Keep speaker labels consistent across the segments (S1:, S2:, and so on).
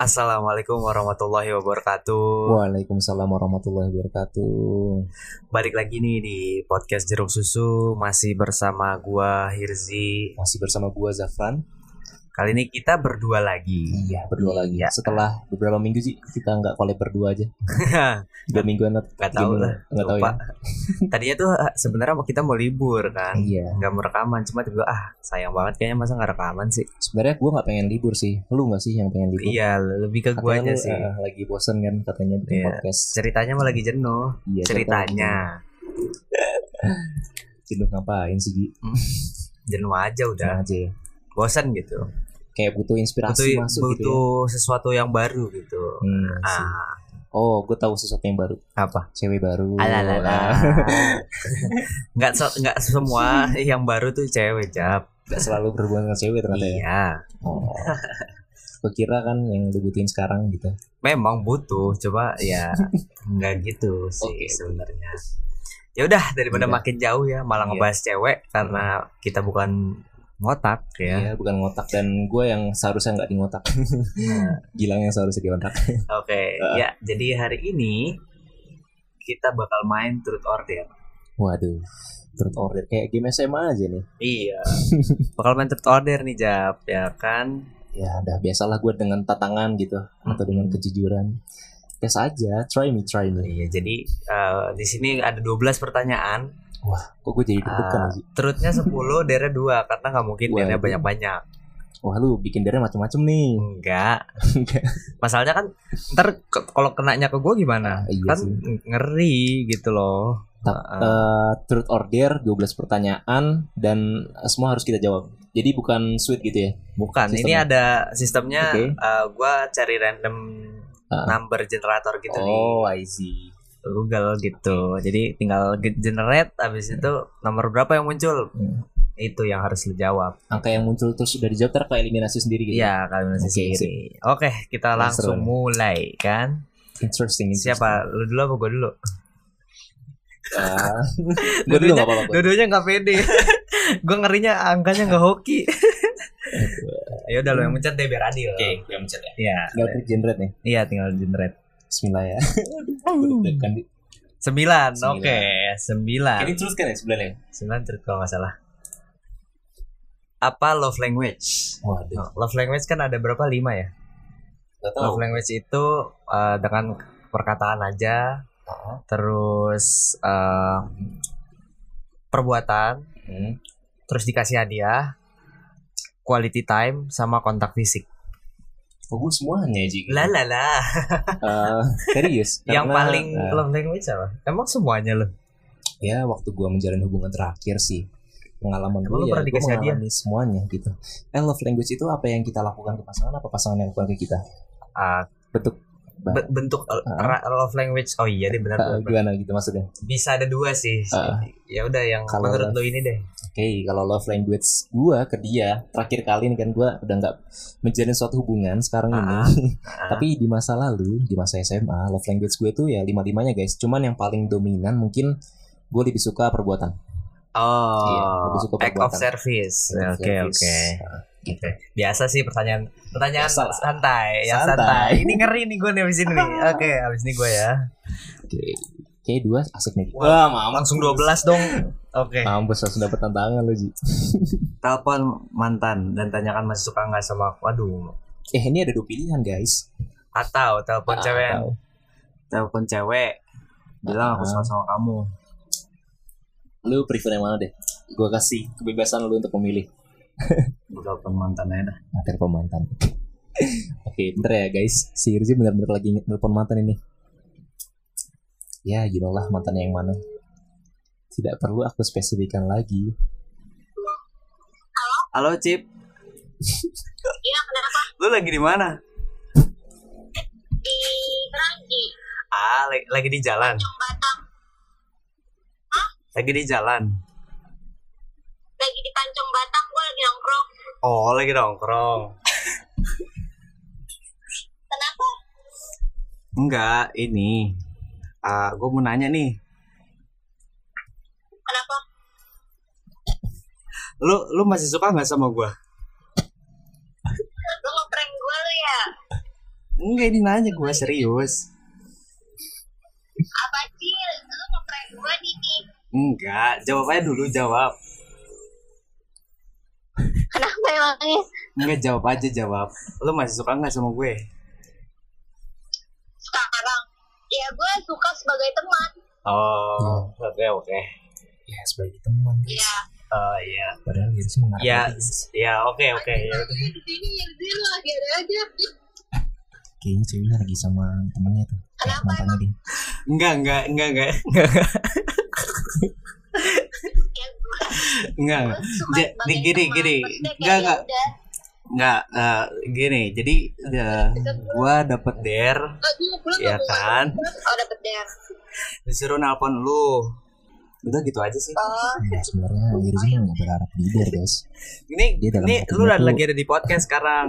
S1: Assalamualaikum warahmatullahi wabarakatuh.
S2: Waalaikumsalam warahmatullahi wabarakatuh.
S1: Balik lagi nih di podcast Jeruk Susu masih bersama gua Hirzi.
S2: Masih bersama gua Zafran.
S1: Kali ini kita berdua lagi.
S2: Iya, berdua lagi.
S1: Iya.
S2: Setelah beberapa minggu sih kita nggak collab berdua aja. Dua mingguan atau
S1: Nggak tahu
S2: gimana?
S1: lah.
S2: Nggak tahu
S1: Lupa.
S2: ya.
S1: Tadinya tuh ah, sebenarnya mau kita mau libur kan.
S2: Iya.
S1: Nggak mau rekaman cuma tiba ah sayang banget kayaknya masa nggak rekaman sih.
S2: Sebenarnya gua nggak pengen libur sih. Lu nggak sih yang pengen libur?
S1: Iya, lebih ke
S2: Katanya
S1: guanya
S2: lu,
S1: sih.
S2: eh, lagi bosen kan katanya bikin
S1: Iya.
S2: podcast.
S1: Ceritanya mah lagi jenuh.
S2: Iya,
S1: Ceritanya
S2: Jenuh ngapain sih? Ji?
S1: jenuh aja udah.
S2: Tenang aja ya.
S1: Bosan gitu.
S2: Kayak butuh inspirasi
S1: Butuh
S2: masuk gitu ya.
S1: butuh sesuatu yang baru gitu.
S2: Hmm, sih.
S1: Ah,
S2: Oh, gue tahu sesuatu yang baru.
S1: apa?
S2: Cewek baru.
S1: Alalala.
S2: Ah,
S1: nggak so, nggak semua yang baru tuh cewek jap.
S2: nggak selalu berhubungan dengan cewek ternyata ya.
S1: Iya.
S2: Oh. Gua kira kan yang dibutuhin sekarang gitu.
S1: Memang butuh, coba ya nggak gitu sih
S2: Oke.
S1: sebenarnya. Ya udah daripada
S2: Yaudah.
S1: makin jauh ya malah
S2: Iya.
S1: ngebahas cewek karena kita bukan ngotak ya.
S2: Iya, bukan ngotak dan gue yang seharusnya nggak di ngotak. Gilang yang seharusnya di ngotak.
S1: Oke, ya jadi hari ini kita bakal main truth order.
S2: Waduh, turut order kayak game SMA aja nih.
S1: Iya. bakal main truth order nih Jap, ya kan?
S2: Ya udah biasalah gue dengan tatangan gitu atau dengan kejujuran. Tes aja, try me, try me.
S1: Iya, jadi eh, di sini ada 12 pertanyaan.
S2: Kok gue jadi deg-degan
S1: Ah.
S2: sih?
S1: Truthnya 10, dare 2 karena nggak mungkin
S2: Waduh. Hmm.
S1: dare banyak-banyak.
S2: Wah lu bikin dere macam-macam nih.
S1: Enggak. Masalahnya kan ntar ke- kalau kenanya ke gue gimana?
S2: Ah, iya
S1: kan
S2: sih.
S1: ngeri gitu loh.
S2: Ta- eh, truth order 12 pertanyaan dan semua harus kita jawab. Jadi bukan sweet gitu ya.
S1: Bukan, ini
S2: sistemnya.
S1: ada sistemnya
S2: Oke.
S1: eh, gua cari random
S2: Ah.
S1: number generator gitu di
S2: oh, I see.
S1: Google gitu. Jadi tinggal ge- generate habis itu nomor berapa yang muncul?
S2: Hmm.
S1: Itu yang harus lu jawab.
S2: Angka yang muncul terus udah dijawab ter eliminasi sendiri gitu.
S1: Iya, kalau masih
S2: Oke,
S1: sendiri. Oke, kita
S2: Seru
S1: langsung
S2: nih.
S1: mulai kan.
S2: Interesting, interesting.
S1: Siapa? Lu dulu apa gua dulu?
S2: gue dulu
S1: Dua-duanya-
S2: gak apa-apa. gua.
S1: Dua-duanya nggak pede. gue ngerinya angkanya nggak hoki. Ayo udah lo yang mencet deh biar adil.
S2: Oke, gue yang mencet ya.
S1: Iya.
S2: Tinggal klik generate nih.
S1: Iya tinggal generate.
S2: Bismillah ya. Aduh, deg Ini
S1: Sembilan.
S2: Sembilan.
S1: Oke, sembilan.
S2: terus kan ya sebelah ya?
S1: Sembilan terus kalau nggak salah. Apa love language?
S2: Waduh,
S1: Oh, Love language kan ada berapa lima ya?
S2: gak
S1: Love language itu eh, dengan perkataan aja, terus eh, perbuatan,
S2: Hmm.
S1: terus dikasih hadiah, quality time, sama kontak fisik.
S2: Oh, gue semuanya Ji.
S1: Lah lah lah.
S2: Eh, serius.
S1: Yang
S2: Karena,
S1: paling
S2: eh,
S1: love language apa? Emang semuanya loh.
S2: ya waktu gue menjalin hubungan terakhir sih pengalaman
S1: Emang lu
S2: gue ya
S1: pernah
S2: gue
S1: dikasih
S2: mengalami semuanya gitu. Eh, love language itu apa yang kita lakukan ke pasangan apa pasangan yang lakukan ke kita?
S1: Ah,
S2: Bentuk Ah.
S1: be- bentuk ra- love language. Oh iya deh benar. benar.
S2: eh, gimana gitu maksudnya?
S1: Bisa ada dua sih.
S2: Ah.
S1: ya udah yang
S2: Kalau
S1: menurut lo
S2: love-
S1: ini deh.
S2: Oke, kalau love language gua ke dia terakhir kali ini kan gua udah nggak menjalin suatu hubungan sekarang
S1: Ah,
S2: ini.
S1: ah.
S2: Tapi di masa lalu, di masa SMA, love language gue tuh ya lima limanya guys. Cuman yang paling dominan mungkin gue lebih suka perbuatan.
S1: Oh,
S2: Iya, lebih suka
S1: act of
S2: perbuatan.
S1: service. Oke
S2: Service.
S1: oke.
S2: Nah, gitu.
S1: Biasa sih pertanyaan pertanyaan
S2: Biasa lah.
S1: santai, yang
S2: Santai.
S1: santai. Ini ngeri nih gue nih abis ini. nih. Oke, abis ini gue ya.
S2: Oke, oke dua asik nih.
S1: Wah, langsung 12 dong. Oke.
S2: Mampus langsung dapet tantangan lo Ji.
S1: Telepon mantan dan tanyakan masih suka nggak sama aku. Waduh.
S2: Eh ini ada dua pilihan guys.
S1: Atau telepon
S2: Ah,
S1: cewek
S2: tahu.
S1: telepon cewek bilang aku suka sama kamu
S2: Lu prefer yang mana deh? Gue kasih kebebasan lu untuk memilih.
S1: Gua telepon mantan aja dah
S2: Nah, telepon mantan. Oke, bentar ya guys. Si Irzi benar-benar lagi telepon mantan ini. Ya, you know lah mantannya yang mana. Tidak perlu aku spesifikkan lagi.
S1: halo Cip
S3: Iya, kenapa
S1: lu lagi di mana
S3: di Meranti,
S1: ah lagi, lagi di jalan
S3: Tanjung Batang,
S1: lagi di jalan
S3: lagi di Tanjung Batang, gue lagi nongkrong.
S1: oh lagi nongkrong
S3: Kenapa?
S1: enggak ini ah gue mau nanya nih
S3: Kenapa?
S1: lu lu masih suka nggak sama gue
S3: Lu ngeprank gue lu ya?
S2: Enggak ini nanya gue serius.
S3: Apa sih? Lu ngeprank gua nih Ki.
S2: Enggak, jawabannya dulu jawab.
S3: Kenapa emangnya?
S2: Enggak jawab aja jawab. Lu masih suka nggak sama gue?
S3: Sekarang Ya gue suka sebagai teman
S2: Oh, oke oke. Ya sebagai teman guys.
S3: Ya
S1: Oh iya.
S2: Padahal harusnya menghargai.
S1: Ya,
S2: guys.
S1: ya oke oke. ya udah.
S3: Di sini nyindir lah Gak aja
S2: Kayaknya ceweknya lagi sama temennya tuh. Eh,
S3: Kenapa
S2: mantannya dia.
S1: Enggak enggak enggak enggak.
S3: Ya gue
S1: Enggak.
S3: suka
S1: Ja-
S3: sebagai
S1: gini,
S3: teman
S1: gini.
S3: Maksudnya
S1: Enggak,
S3: kayak ya
S1: enggak.
S3: yaudah.
S1: Enggak eh, gini. Jadi eh, gua dapet dare
S3: Oh, gue belum
S1: ya
S3: ngomong.
S1: kan.
S3: Oh dapet deh
S1: Disuruh nelpon lu. Udah gitu aja sih.
S3: Oh
S2: Enggak, Iya, sebenarnya harusnya nggak berharap leader guys.
S1: Ini
S2: Dia dalam
S1: ini
S2: hatinya
S1: lu
S2: tuh-
S1: lagi ada di podcast sekarang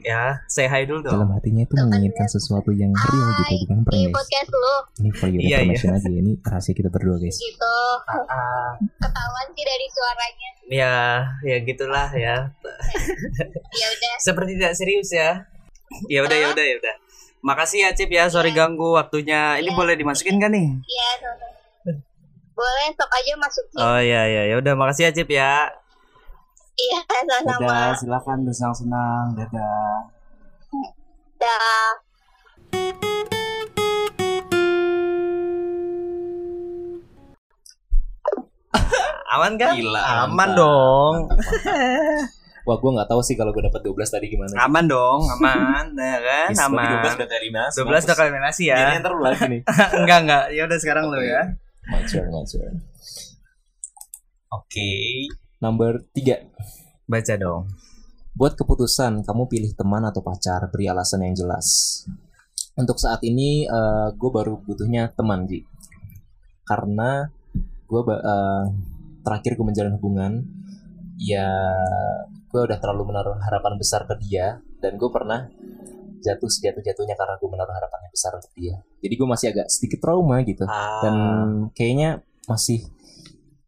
S1: ya. Say hi dulu dong.
S2: Dalam hatinya itu menginginkan sesuatu yang real gitu, bukan
S3: Di
S2: prank guys.
S3: podcast lu
S2: Ini for your
S1: Iya, iya.
S2: information aja, ini rahasia kita berdua guys.
S3: gitu
S1: Ah,
S3: Ketahuan sih dari suaranya
S1: ya ya gitulah ya.
S3: Ya udah
S1: Seperti tidak serius ya. Ya udah ya udah ya udah. Makasih ya Cip ya, sorry
S2: Iya.
S1: ganggu waktunya. Ini boleh dimasukin kan nih?
S3: Ya sama-sama. Boleh sok aja masuk sih
S1: Oh iya iya ya udah makasih ya Cip ya.
S3: Iya sama-sama
S2: Dadah, silakan bersenang-senang. Dadah.
S3: Dah
S1: Aman kan?
S2: Gila,
S1: Aman
S2: mantap.
S1: dong.
S2: Wah, gue nggak tahu sih kalau gue dapat 12 tadi gimana.
S1: Aman dong, aman. ya kan?
S2: Yes,
S1: aman.
S2: berarti 12 udah eliminasi.
S1: 12 udah kaliminasi
S2: ya.
S1: ya.
S2: ntar lu lagi nih.
S1: enggak enggak. Ya udah sekarang lu ya.
S2: My turn, my turn.
S1: Oke.
S2: Number 3.
S1: Baca dong.
S2: Buat keputusan, kamu pilih teman atau pacar, beri alasan yang jelas. Untuk saat ini, gue baru butuhnya teman, Ji. Karena gue terakhir gue menjalin hubungan, ya gue udah terlalu menaruh harapan besar ke dia, dan gue pernah jatuh sejatuh-jatuhnya karena gue menaruh harapan yang besar untuk dia. Jadi gue masih agak sedikit trauma gitu,
S1: Ah,
S2: dan kayaknya masih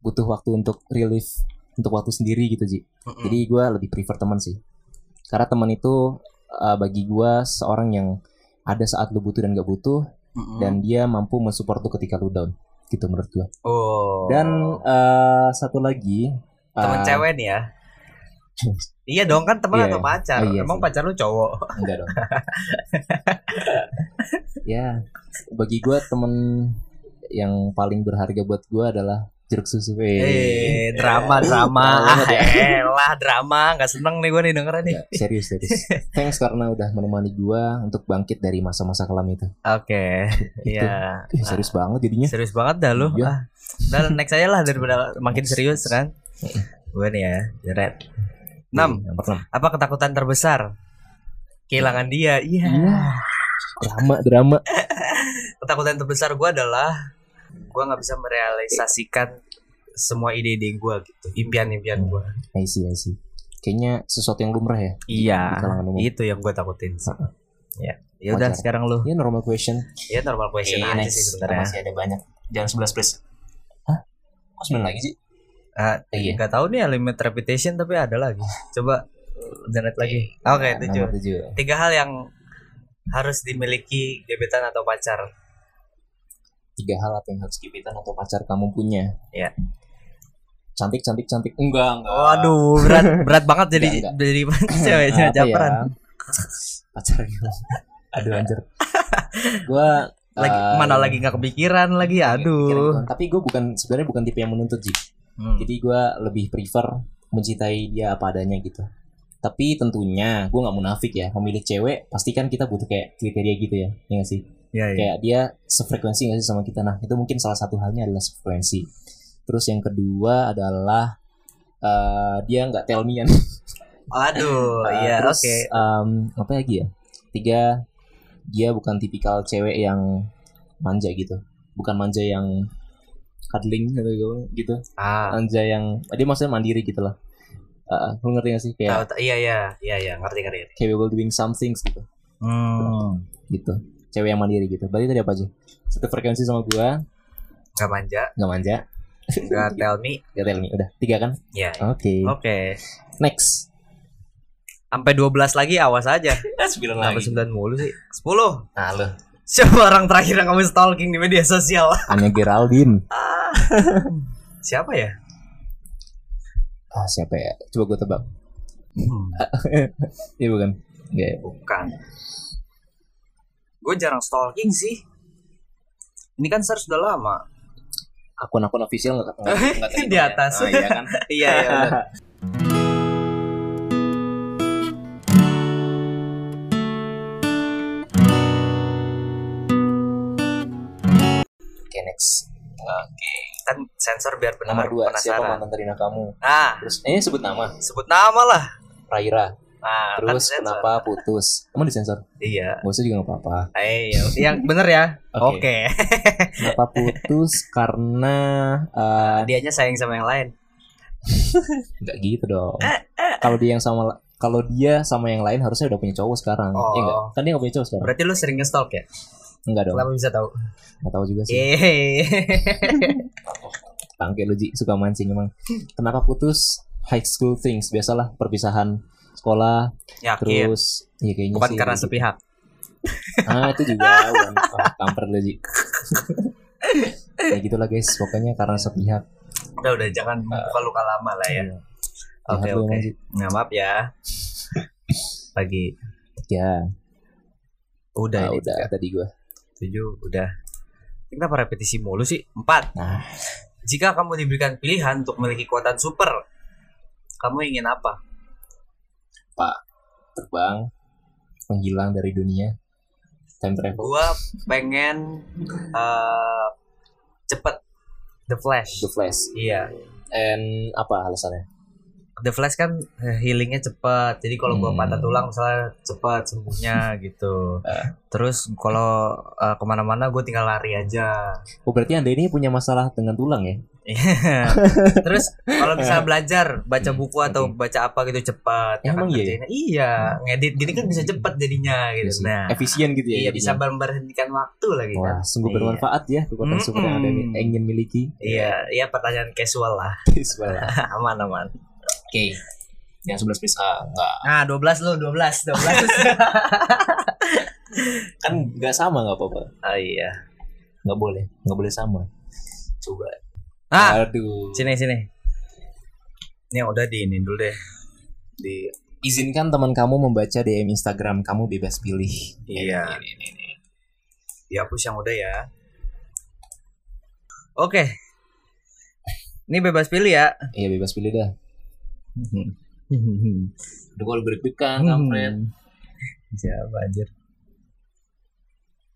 S2: butuh waktu untuk relief, untuk waktu sendiri gitu, Ji.
S1: mm-mm.
S2: Jadi gue lebih prefer teman sih. Karena teman itu uh, bagi gue seorang yang ada saat lu butuh dan gak butuh
S1: Mm-mm.
S2: dan dia mampu mensupport lu ketika lu down. Gitu menurut gue.
S1: oh.
S2: Dan uh, satu lagi uh,
S1: teman cewek nih ya. Iya dong kan teman
S2: Iya,
S1: atau
S2: iya.
S1: pacar.
S2: Oh, iya
S1: Emang
S2: sih.
S1: pacar lu cowok.
S2: Enggak dong. ya, bagi gue temen yang paling berharga buat gue adalah jeruk susu. Eh,
S1: Eh, drama drama.
S2: Drama
S1: ah,
S2: banget ya. Iya.
S1: elah drama. Gak seneng nih gue nih dengerin nih.
S2: Enggak, Ya, serius, serius. Thanks karena udah menemani gue untuk bangkit dari masa-masa kelam itu.
S1: Oke. Iya.
S2: Ih, serius banget jadinya.
S1: Serius banget dah lu.
S2: Iya.
S1: Ah, udah next aja lah daripada makin serius kan. Gue nih ya, Jared. 6.
S2: Nomor Iya, enam.
S1: Apa ketakutan terbesar? Kehilangan dia. Iya.
S2: drama drama
S1: Ketakutan terbesar gue adalah gue nggak bisa merealisasikan semua ide-ide gue gitu, impian-impian gue.
S2: I see, I see. kayaknya sesuatu yang lumrah ya di
S1: Iya.
S2: kalangan umum
S1: Itu yang gue takutin. sih.
S2: Heeh.
S1: Ya. Ya udah
S2: Wajar.
S1: sekarang lu.
S2: ya normal question
S1: Ya normal question
S2: Eh,
S1: aja
S2: next.
S1: sih
S2: Kita
S1: sebenarnya.
S2: masih ada banyak jangan sebelas please hah kok sembilan lagi sih
S1: Ah,
S2: Iya.
S1: Gak tau nih ya limit repetition tapi ada lagi. Coba Jared lagi. Oke,
S2: Nah,
S1: tujuh.
S2: nomor tujuh
S1: tiga hal yang harus dimiliki gebetan atau pacar
S2: tiga hal apa yang harus gebetan atau pacar kamu punya
S1: Iya.
S2: cantik cantik cantik enggak enggak
S1: waduh berat berat banget jadi
S2: Enggak,
S1: jadi cewek cewek
S2: Nah, apa
S1: caperan
S2: ya? pacar gitu. aduh anjir gue
S1: lagi mana lagi nggak kepikiran lagi aduh
S2: gitu. tapi gue bukan sebenarnya bukan tipe yang menuntut Ji.
S1: Hmm.
S2: jadi gue lebih prefer mencintai dia apa adanya gitu tapi tentunya gue nggak munafik ya memilih cewek pastikan kita butuh kayak kriteria gitu ya ya nggak sih
S1: Iya, iya.
S2: kayak dia sefrekuensi nggak sih sama kita nah itu mungkin salah satu halnya adalah sefrekuensi terus yang kedua adalah eh, dia nggak tell me-an.
S1: aduh
S2: Eh,
S1: iya
S2: terus
S1: oke
S2: em, apa lagi ya tiga dia bukan tipikal cewek yang manja gitu bukan manja yang cuddling gitu gitu
S1: ah
S2: manja yang dia maksudnya mandiri gitu lah Eh, lu ngerti gak sih kayak
S1: tahu tahu. iya iya iya iya ngerti ngerti ngerti.
S2: capable doing some things gitu
S1: hmm
S2: gitu cewek yang mandiri gitu berarti tadi apa aja satu frekuensi sama gua
S1: nggak manja
S2: nggak manja
S1: nggak tell me Oh.
S2: gak tell me udah tiga kan
S1: ya
S2: oke
S1: oke
S2: next
S1: Sampai 12 lagi awas aja.
S2: Eh, sembilan
S1: Kenapa 9 mulu sih? 10.
S2: Nah, lu.
S1: Siapa orang terakhir yang kamu stalking di media sosial?
S2: Anya Geraldine.
S1: Siapa ya?
S2: Ah, siapa ya? Coba gue tebak.
S1: Hmm,
S2: Iya bukan? Nggak ya?
S1: bukan. Gue jarang stalking sih. Ini kan search udah lama.
S2: Akun-akun official nggak nggak- nggak terima
S1: Di
S2: ya?
S1: atas.
S2: Oh, iya kan?
S1: Iya, iya. bener.
S2: Oke, next. Nah,
S1: Kan sensor biar benar
S2: Nomor dua, siapa
S1: penasaran.
S2: mantan terindah kamu?
S1: Nah,
S2: Terus, eh sebut nama.
S1: sebut nama lah.
S2: Raira.
S1: Nah, kan
S2: Terus
S1: sensor.
S2: kenapa putus? Emang disensor?
S1: Iya.
S2: Gak usah juga gak apa-apa.
S1: Eh, iya. yang bener ya.
S2: Oke.
S1: Oke.
S2: Kenapa putus? Karena eh,
S1: Dianya sayang sama yang lain.
S2: nggak gitu dong.
S1: Eh,
S2: Kalau dia yang sama kalau dia sama yang lain harusnya udah punya cowok sekarang.
S1: Oh.
S2: Iya nggak? Kan dia nggak punya cowok sekarang.
S1: Berarti lu sering nge-stalk ya?
S2: Enggak dong.
S1: Kenapa bisa tahu?
S2: Nggak tahu juga sih.
S1: Eh.
S2: Bangke lu Ji. suka mancing emang. Kenapa putus? High school things biasalah perpisahan sekolah
S1: Yakin.
S2: terus ya kayaknya
S1: Iya. Bukan
S2: sih
S1: karena
S2: gitu.
S1: sepihak.
S2: ah itu juga bukan. Ah, kamper lu Ji. ya gitulah guys pokoknya karena sepihak
S1: Udah udah jangan
S2: Ah.
S1: buka luka lama lah ya.
S2: Iya.
S1: Oke
S2: Jahat lu
S1: oke.
S2: emang, Ji.
S1: Nah, maaf ya. Lagi
S2: ya
S1: udah
S2: ah,
S1: ini
S2: udah
S1: tiga,
S2: tadi gua
S1: tujuh udah. Kenapa repetisi mulu sih? Empat.
S2: Nah.
S1: Jika kamu diberikan pilihan untuk memiliki kekuatan super, kamu ingin apa?
S2: terbang menghilang dari dunia time travel
S1: Gua pengen eh, cepet The Flash.
S2: the flash
S1: Iya.
S2: and apa alasannya
S1: The Flash kan eh, healingnya cepat, jadi kalau gua
S2: Hmm.
S1: patah tulang misalnya cepat sembuhnya gitu.
S2: Eh.
S1: Terus kalau eh, kemana-mana gue tinggal lari aja.
S2: oh berarti anda ini punya masalah dengan tulang ya
S1: Terus kalau bisa belajar baca
S2: Nah. Hmm,
S1: buku atau baca apa gitu cepat. Ya
S2: Emang
S1: kan
S2: iya ya?
S1: kerjainnya. Iya, ngedit gini kan bisa cepat jadinya
S2: Iya
S1: gitu.
S2: sih.
S1: Nah,
S2: efisien gitu ya
S1: iya bisa
S2: jadinya.
S1: memberhentikan waktu lagi kan.
S2: wah sungguh
S1: Iya.
S2: bermanfaat ya kekuatan super yang anda
S1: Mm-mm.
S2: ingin miliki
S1: Iya, iya pertanyaan casual lah.
S2: Sebelah.
S1: aman aman.
S2: oke yang sebelas bisa nggak
S1: Nah, 12 lu, 12, 12.
S2: kan nggak sama nggak apa-apa
S1: oh iya.
S2: nggak boleh nggak boleh sama coba
S1: Ah,
S2: aduh
S1: sini sini ini yang udah di ini dulu deh di
S2: izinkan teman kamu membaca dm instagram kamu bebas pilih
S1: Iya.
S2: Ini, ini, ini, ini.
S1: dihapus yang udah ya oke ini bebas pilih ya
S2: iya bebas pilih dah udah kalau berikut kan
S1: Hmm. Iya,
S2: kampret
S1: siapa anjir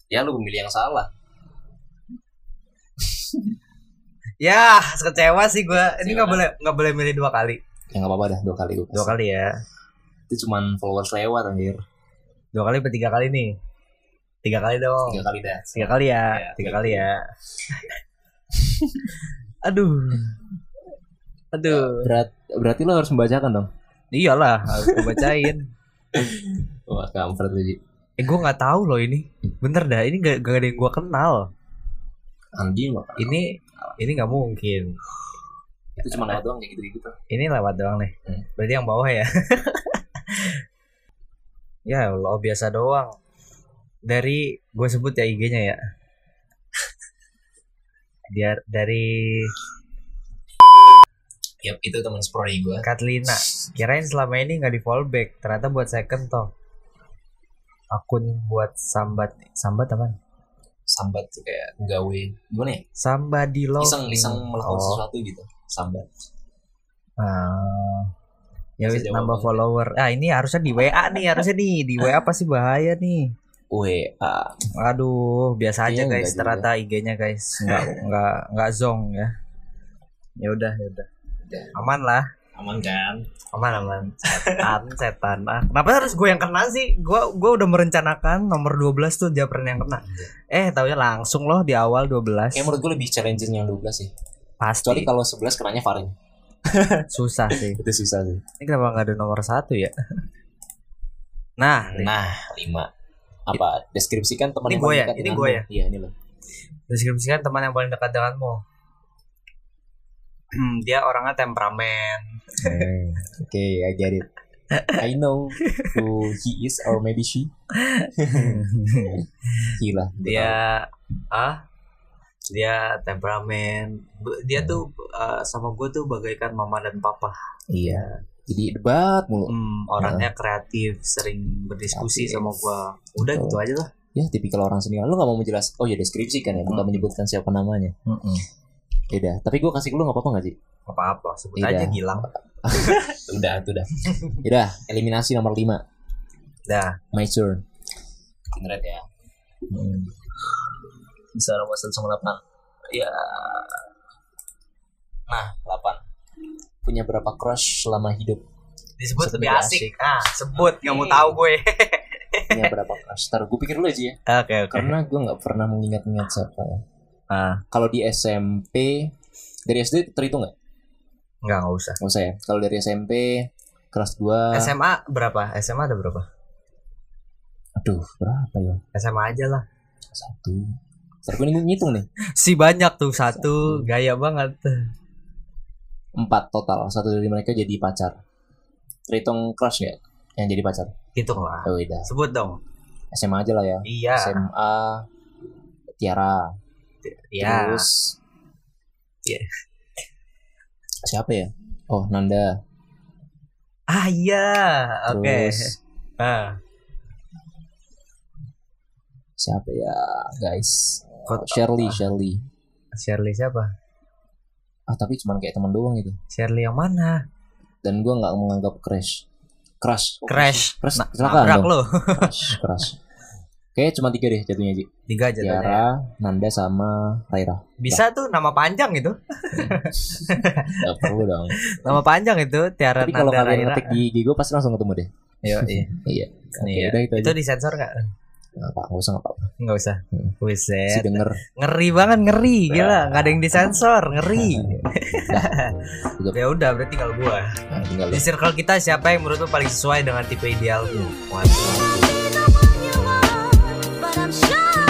S2: ya lu pemilih yang salah
S1: ya kecewa sih gua ini nggak boleh nggak boleh milih dua kali
S2: ya nggak apa-apa dah dua kali gue
S1: dua kali ya
S2: itu cuman followers lewat anjir
S1: dua kali atau tiga kali nih tiga kali dong
S2: Oh. tiga kali dah
S1: tiga kali ya
S2: Iya,
S1: tiga
S2: tiga
S1: kali ya aduh aduh
S2: berat berarti lo harus membacakan dong
S1: iyalah harus gua bacain
S2: wah kampret lu Ji.
S1: Eh gue nggak tahu loh ini. Bener dah, ini gak, gak ada yang gue kenal.
S2: anjing lo
S1: Ini ini nggak mungkin.
S2: itu cuma lewat doang kayak gitu gitu
S1: Ini lewat doang nih.
S2: Hmm.
S1: Berarti yang bawah ya. ya Allah biasa doang. Dari gue sebut ya IG-nya ya. Dia dari
S2: ya itu teman sproni gue
S1: Katlina.
S2: Nah.
S1: Kirain selama ini nggak di fallback, ternyata buat second toh. Akun buat sambat sambat apa?
S2: sambat tuh kayak gawe gimana ya
S1: Somebody love
S2: iseng
S1: me.
S2: iseng
S1: Oh.
S2: melakukan sesuatu gitu sambat
S1: Ah. ya
S2: Bisa
S1: wis
S2: jawab
S1: nambah
S2: banget.
S1: follower. Ah ini harusnya di WA nih, harusnya nih di WA pasti bahaya nih.
S2: we ah
S1: Aduh, biasa aja
S2: Iya, enggak
S1: guys,
S2: juga.
S1: ternyata IG-nya guys nggak nggak nggak zong ya. Ya udah, ya udah.
S2: Udah.
S1: Aman lah,
S2: aman kan
S1: aman aman. Setan, setan. Ah, kenapa harus gue yang kena sih? Gue gue udah merencanakan nomor 12 tuh Japren yang kena. Eh, taunya langsung loh di awal 12.
S2: Nah, kayak Iya, menurut gue lebih challenging yang 12 sih
S1: Pasti
S2: kecuali kalau 11 kenanya Farin
S1: susah sih.
S2: Iya. itu susah sih
S1: Ini kenapa nggak ada nomor satu ya? Nah,
S2: nah 5 apa deskripsikan teman
S1: Ini
S2: yang
S1: gua
S2: paling
S1: ya?
S2: dekat
S1: Ini
S2: denganmu.
S1: gua ya?
S2: iya ini lo
S1: deskripsikan teman yang paling dekat denganmu. dia orangnya temperamen.
S2: oke Hmm, I get it I know who he is or maybe she. Gila. gua
S1: dia ah dia temperamen Bu- dia tuh eh, sama gue tuh bagaikan mama dan papa
S2: tahu. Iya. Jadi debat mulu.
S1: Hmm, orangnya kreatif sering berdiskusi
S2: Kreatif.
S1: sama gue udah
S2: Betul.
S1: gitu aja lah
S2: Ya tipikal orang senior. Lu gak mau menjelaskan. Oh ya deskripsi kan ya. Lu nggak menyebutkan siapa namanya. Ya udah. Tapi gue kasih lu gak apa-apa gak sih?
S1: apa apa sebut aja
S2: Iya.
S1: Gilang
S2: Udah, udah. Ya Udah, eliminasi nomor 5.
S1: dah
S2: My turn. Generate ya.
S4: bisa nomor satu sama delapan
S1: Iya.
S4: ya nah delapan
S2: Punya berapa crush selama hidup?
S1: disebut
S2: Sebut
S1: lebih
S2: lebih
S1: asik, ah sebut nggak mau tahu gue
S2: Punya berapa crush? Ntar gue pikir dulu aja ya.
S1: oke
S2: Karena gue gak pernah mengingat-ingat siapa ya.
S1: ah
S2: Kalau di SMP, dari SD terhitung gak?
S1: nggak nggak usah
S2: Gak usah ya. Kalau dari SMP, kelas 2.
S1: SMA berapa SMA ada berapa
S2: Aduh, berapa ya?
S1: SMA aja lah
S2: Satu. Ntar gue nih ngitung nih.
S1: si banyak tuh satu gaya banget
S2: Empat total. Satu dari mereka jadi pacar. Terhitung crush gak? Yang jadi pacar.
S1: hitung lah
S2: Oh, udah.
S1: sebut dong
S2: SMA aja lah ya.
S1: iya
S2: SMA Tiara
S1: iya
S2: terus
S1: Iya.
S2: siapa ya oh Nanda
S1: ah iya oke
S2: terus
S1: ah
S2: siapa ya guys
S1: Kok-
S2: Shirley Shirley
S1: Shirley siapa
S2: ah tapi cuman kayak teman doang gitu
S1: Shirley yang mana
S2: dan gua nggak menganggap crash crash
S1: Crash
S2: crash
S1: Na-
S2: silakan
S1: nabrak
S2: dong.
S1: lo
S2: crash crash Kayaknya cuma tiga deh jatuhnya Ji.
S1: tiga aja tadi.
S2: Tiara, Nanda sama Raira.
S1: bisa tuh nama panjang itu
S2: Gak perlu dong.
S1: nama panjang itu Tiara
S2: Tapi kalau
S1: Nanda Raira
S2: kalian ngetik di IG gue pasti langsung ketemu deh.
S1: Yo, iya.
S2: Iya. Oke,
S1: Iya.
S2: udah itu
S1: itu
S2: aja.
S1: disensor nggak
S2: Nggak apa, nggak usah nggak apa.
S1: nggak usah
S2: Hmm. Nah. Si
S1: Wiset.
S2: denger
S1: ngeri banget ngeri gila nggak ada yang disensor ngeri ya udah berarti kalau gua
S2: Nah, tinggal
S1: Di circle kita siapa yang menurut lu paling
S2: Hmm.
S1: sesuai dengan tipe ideal lu? Waduh.
S3: But I'm sure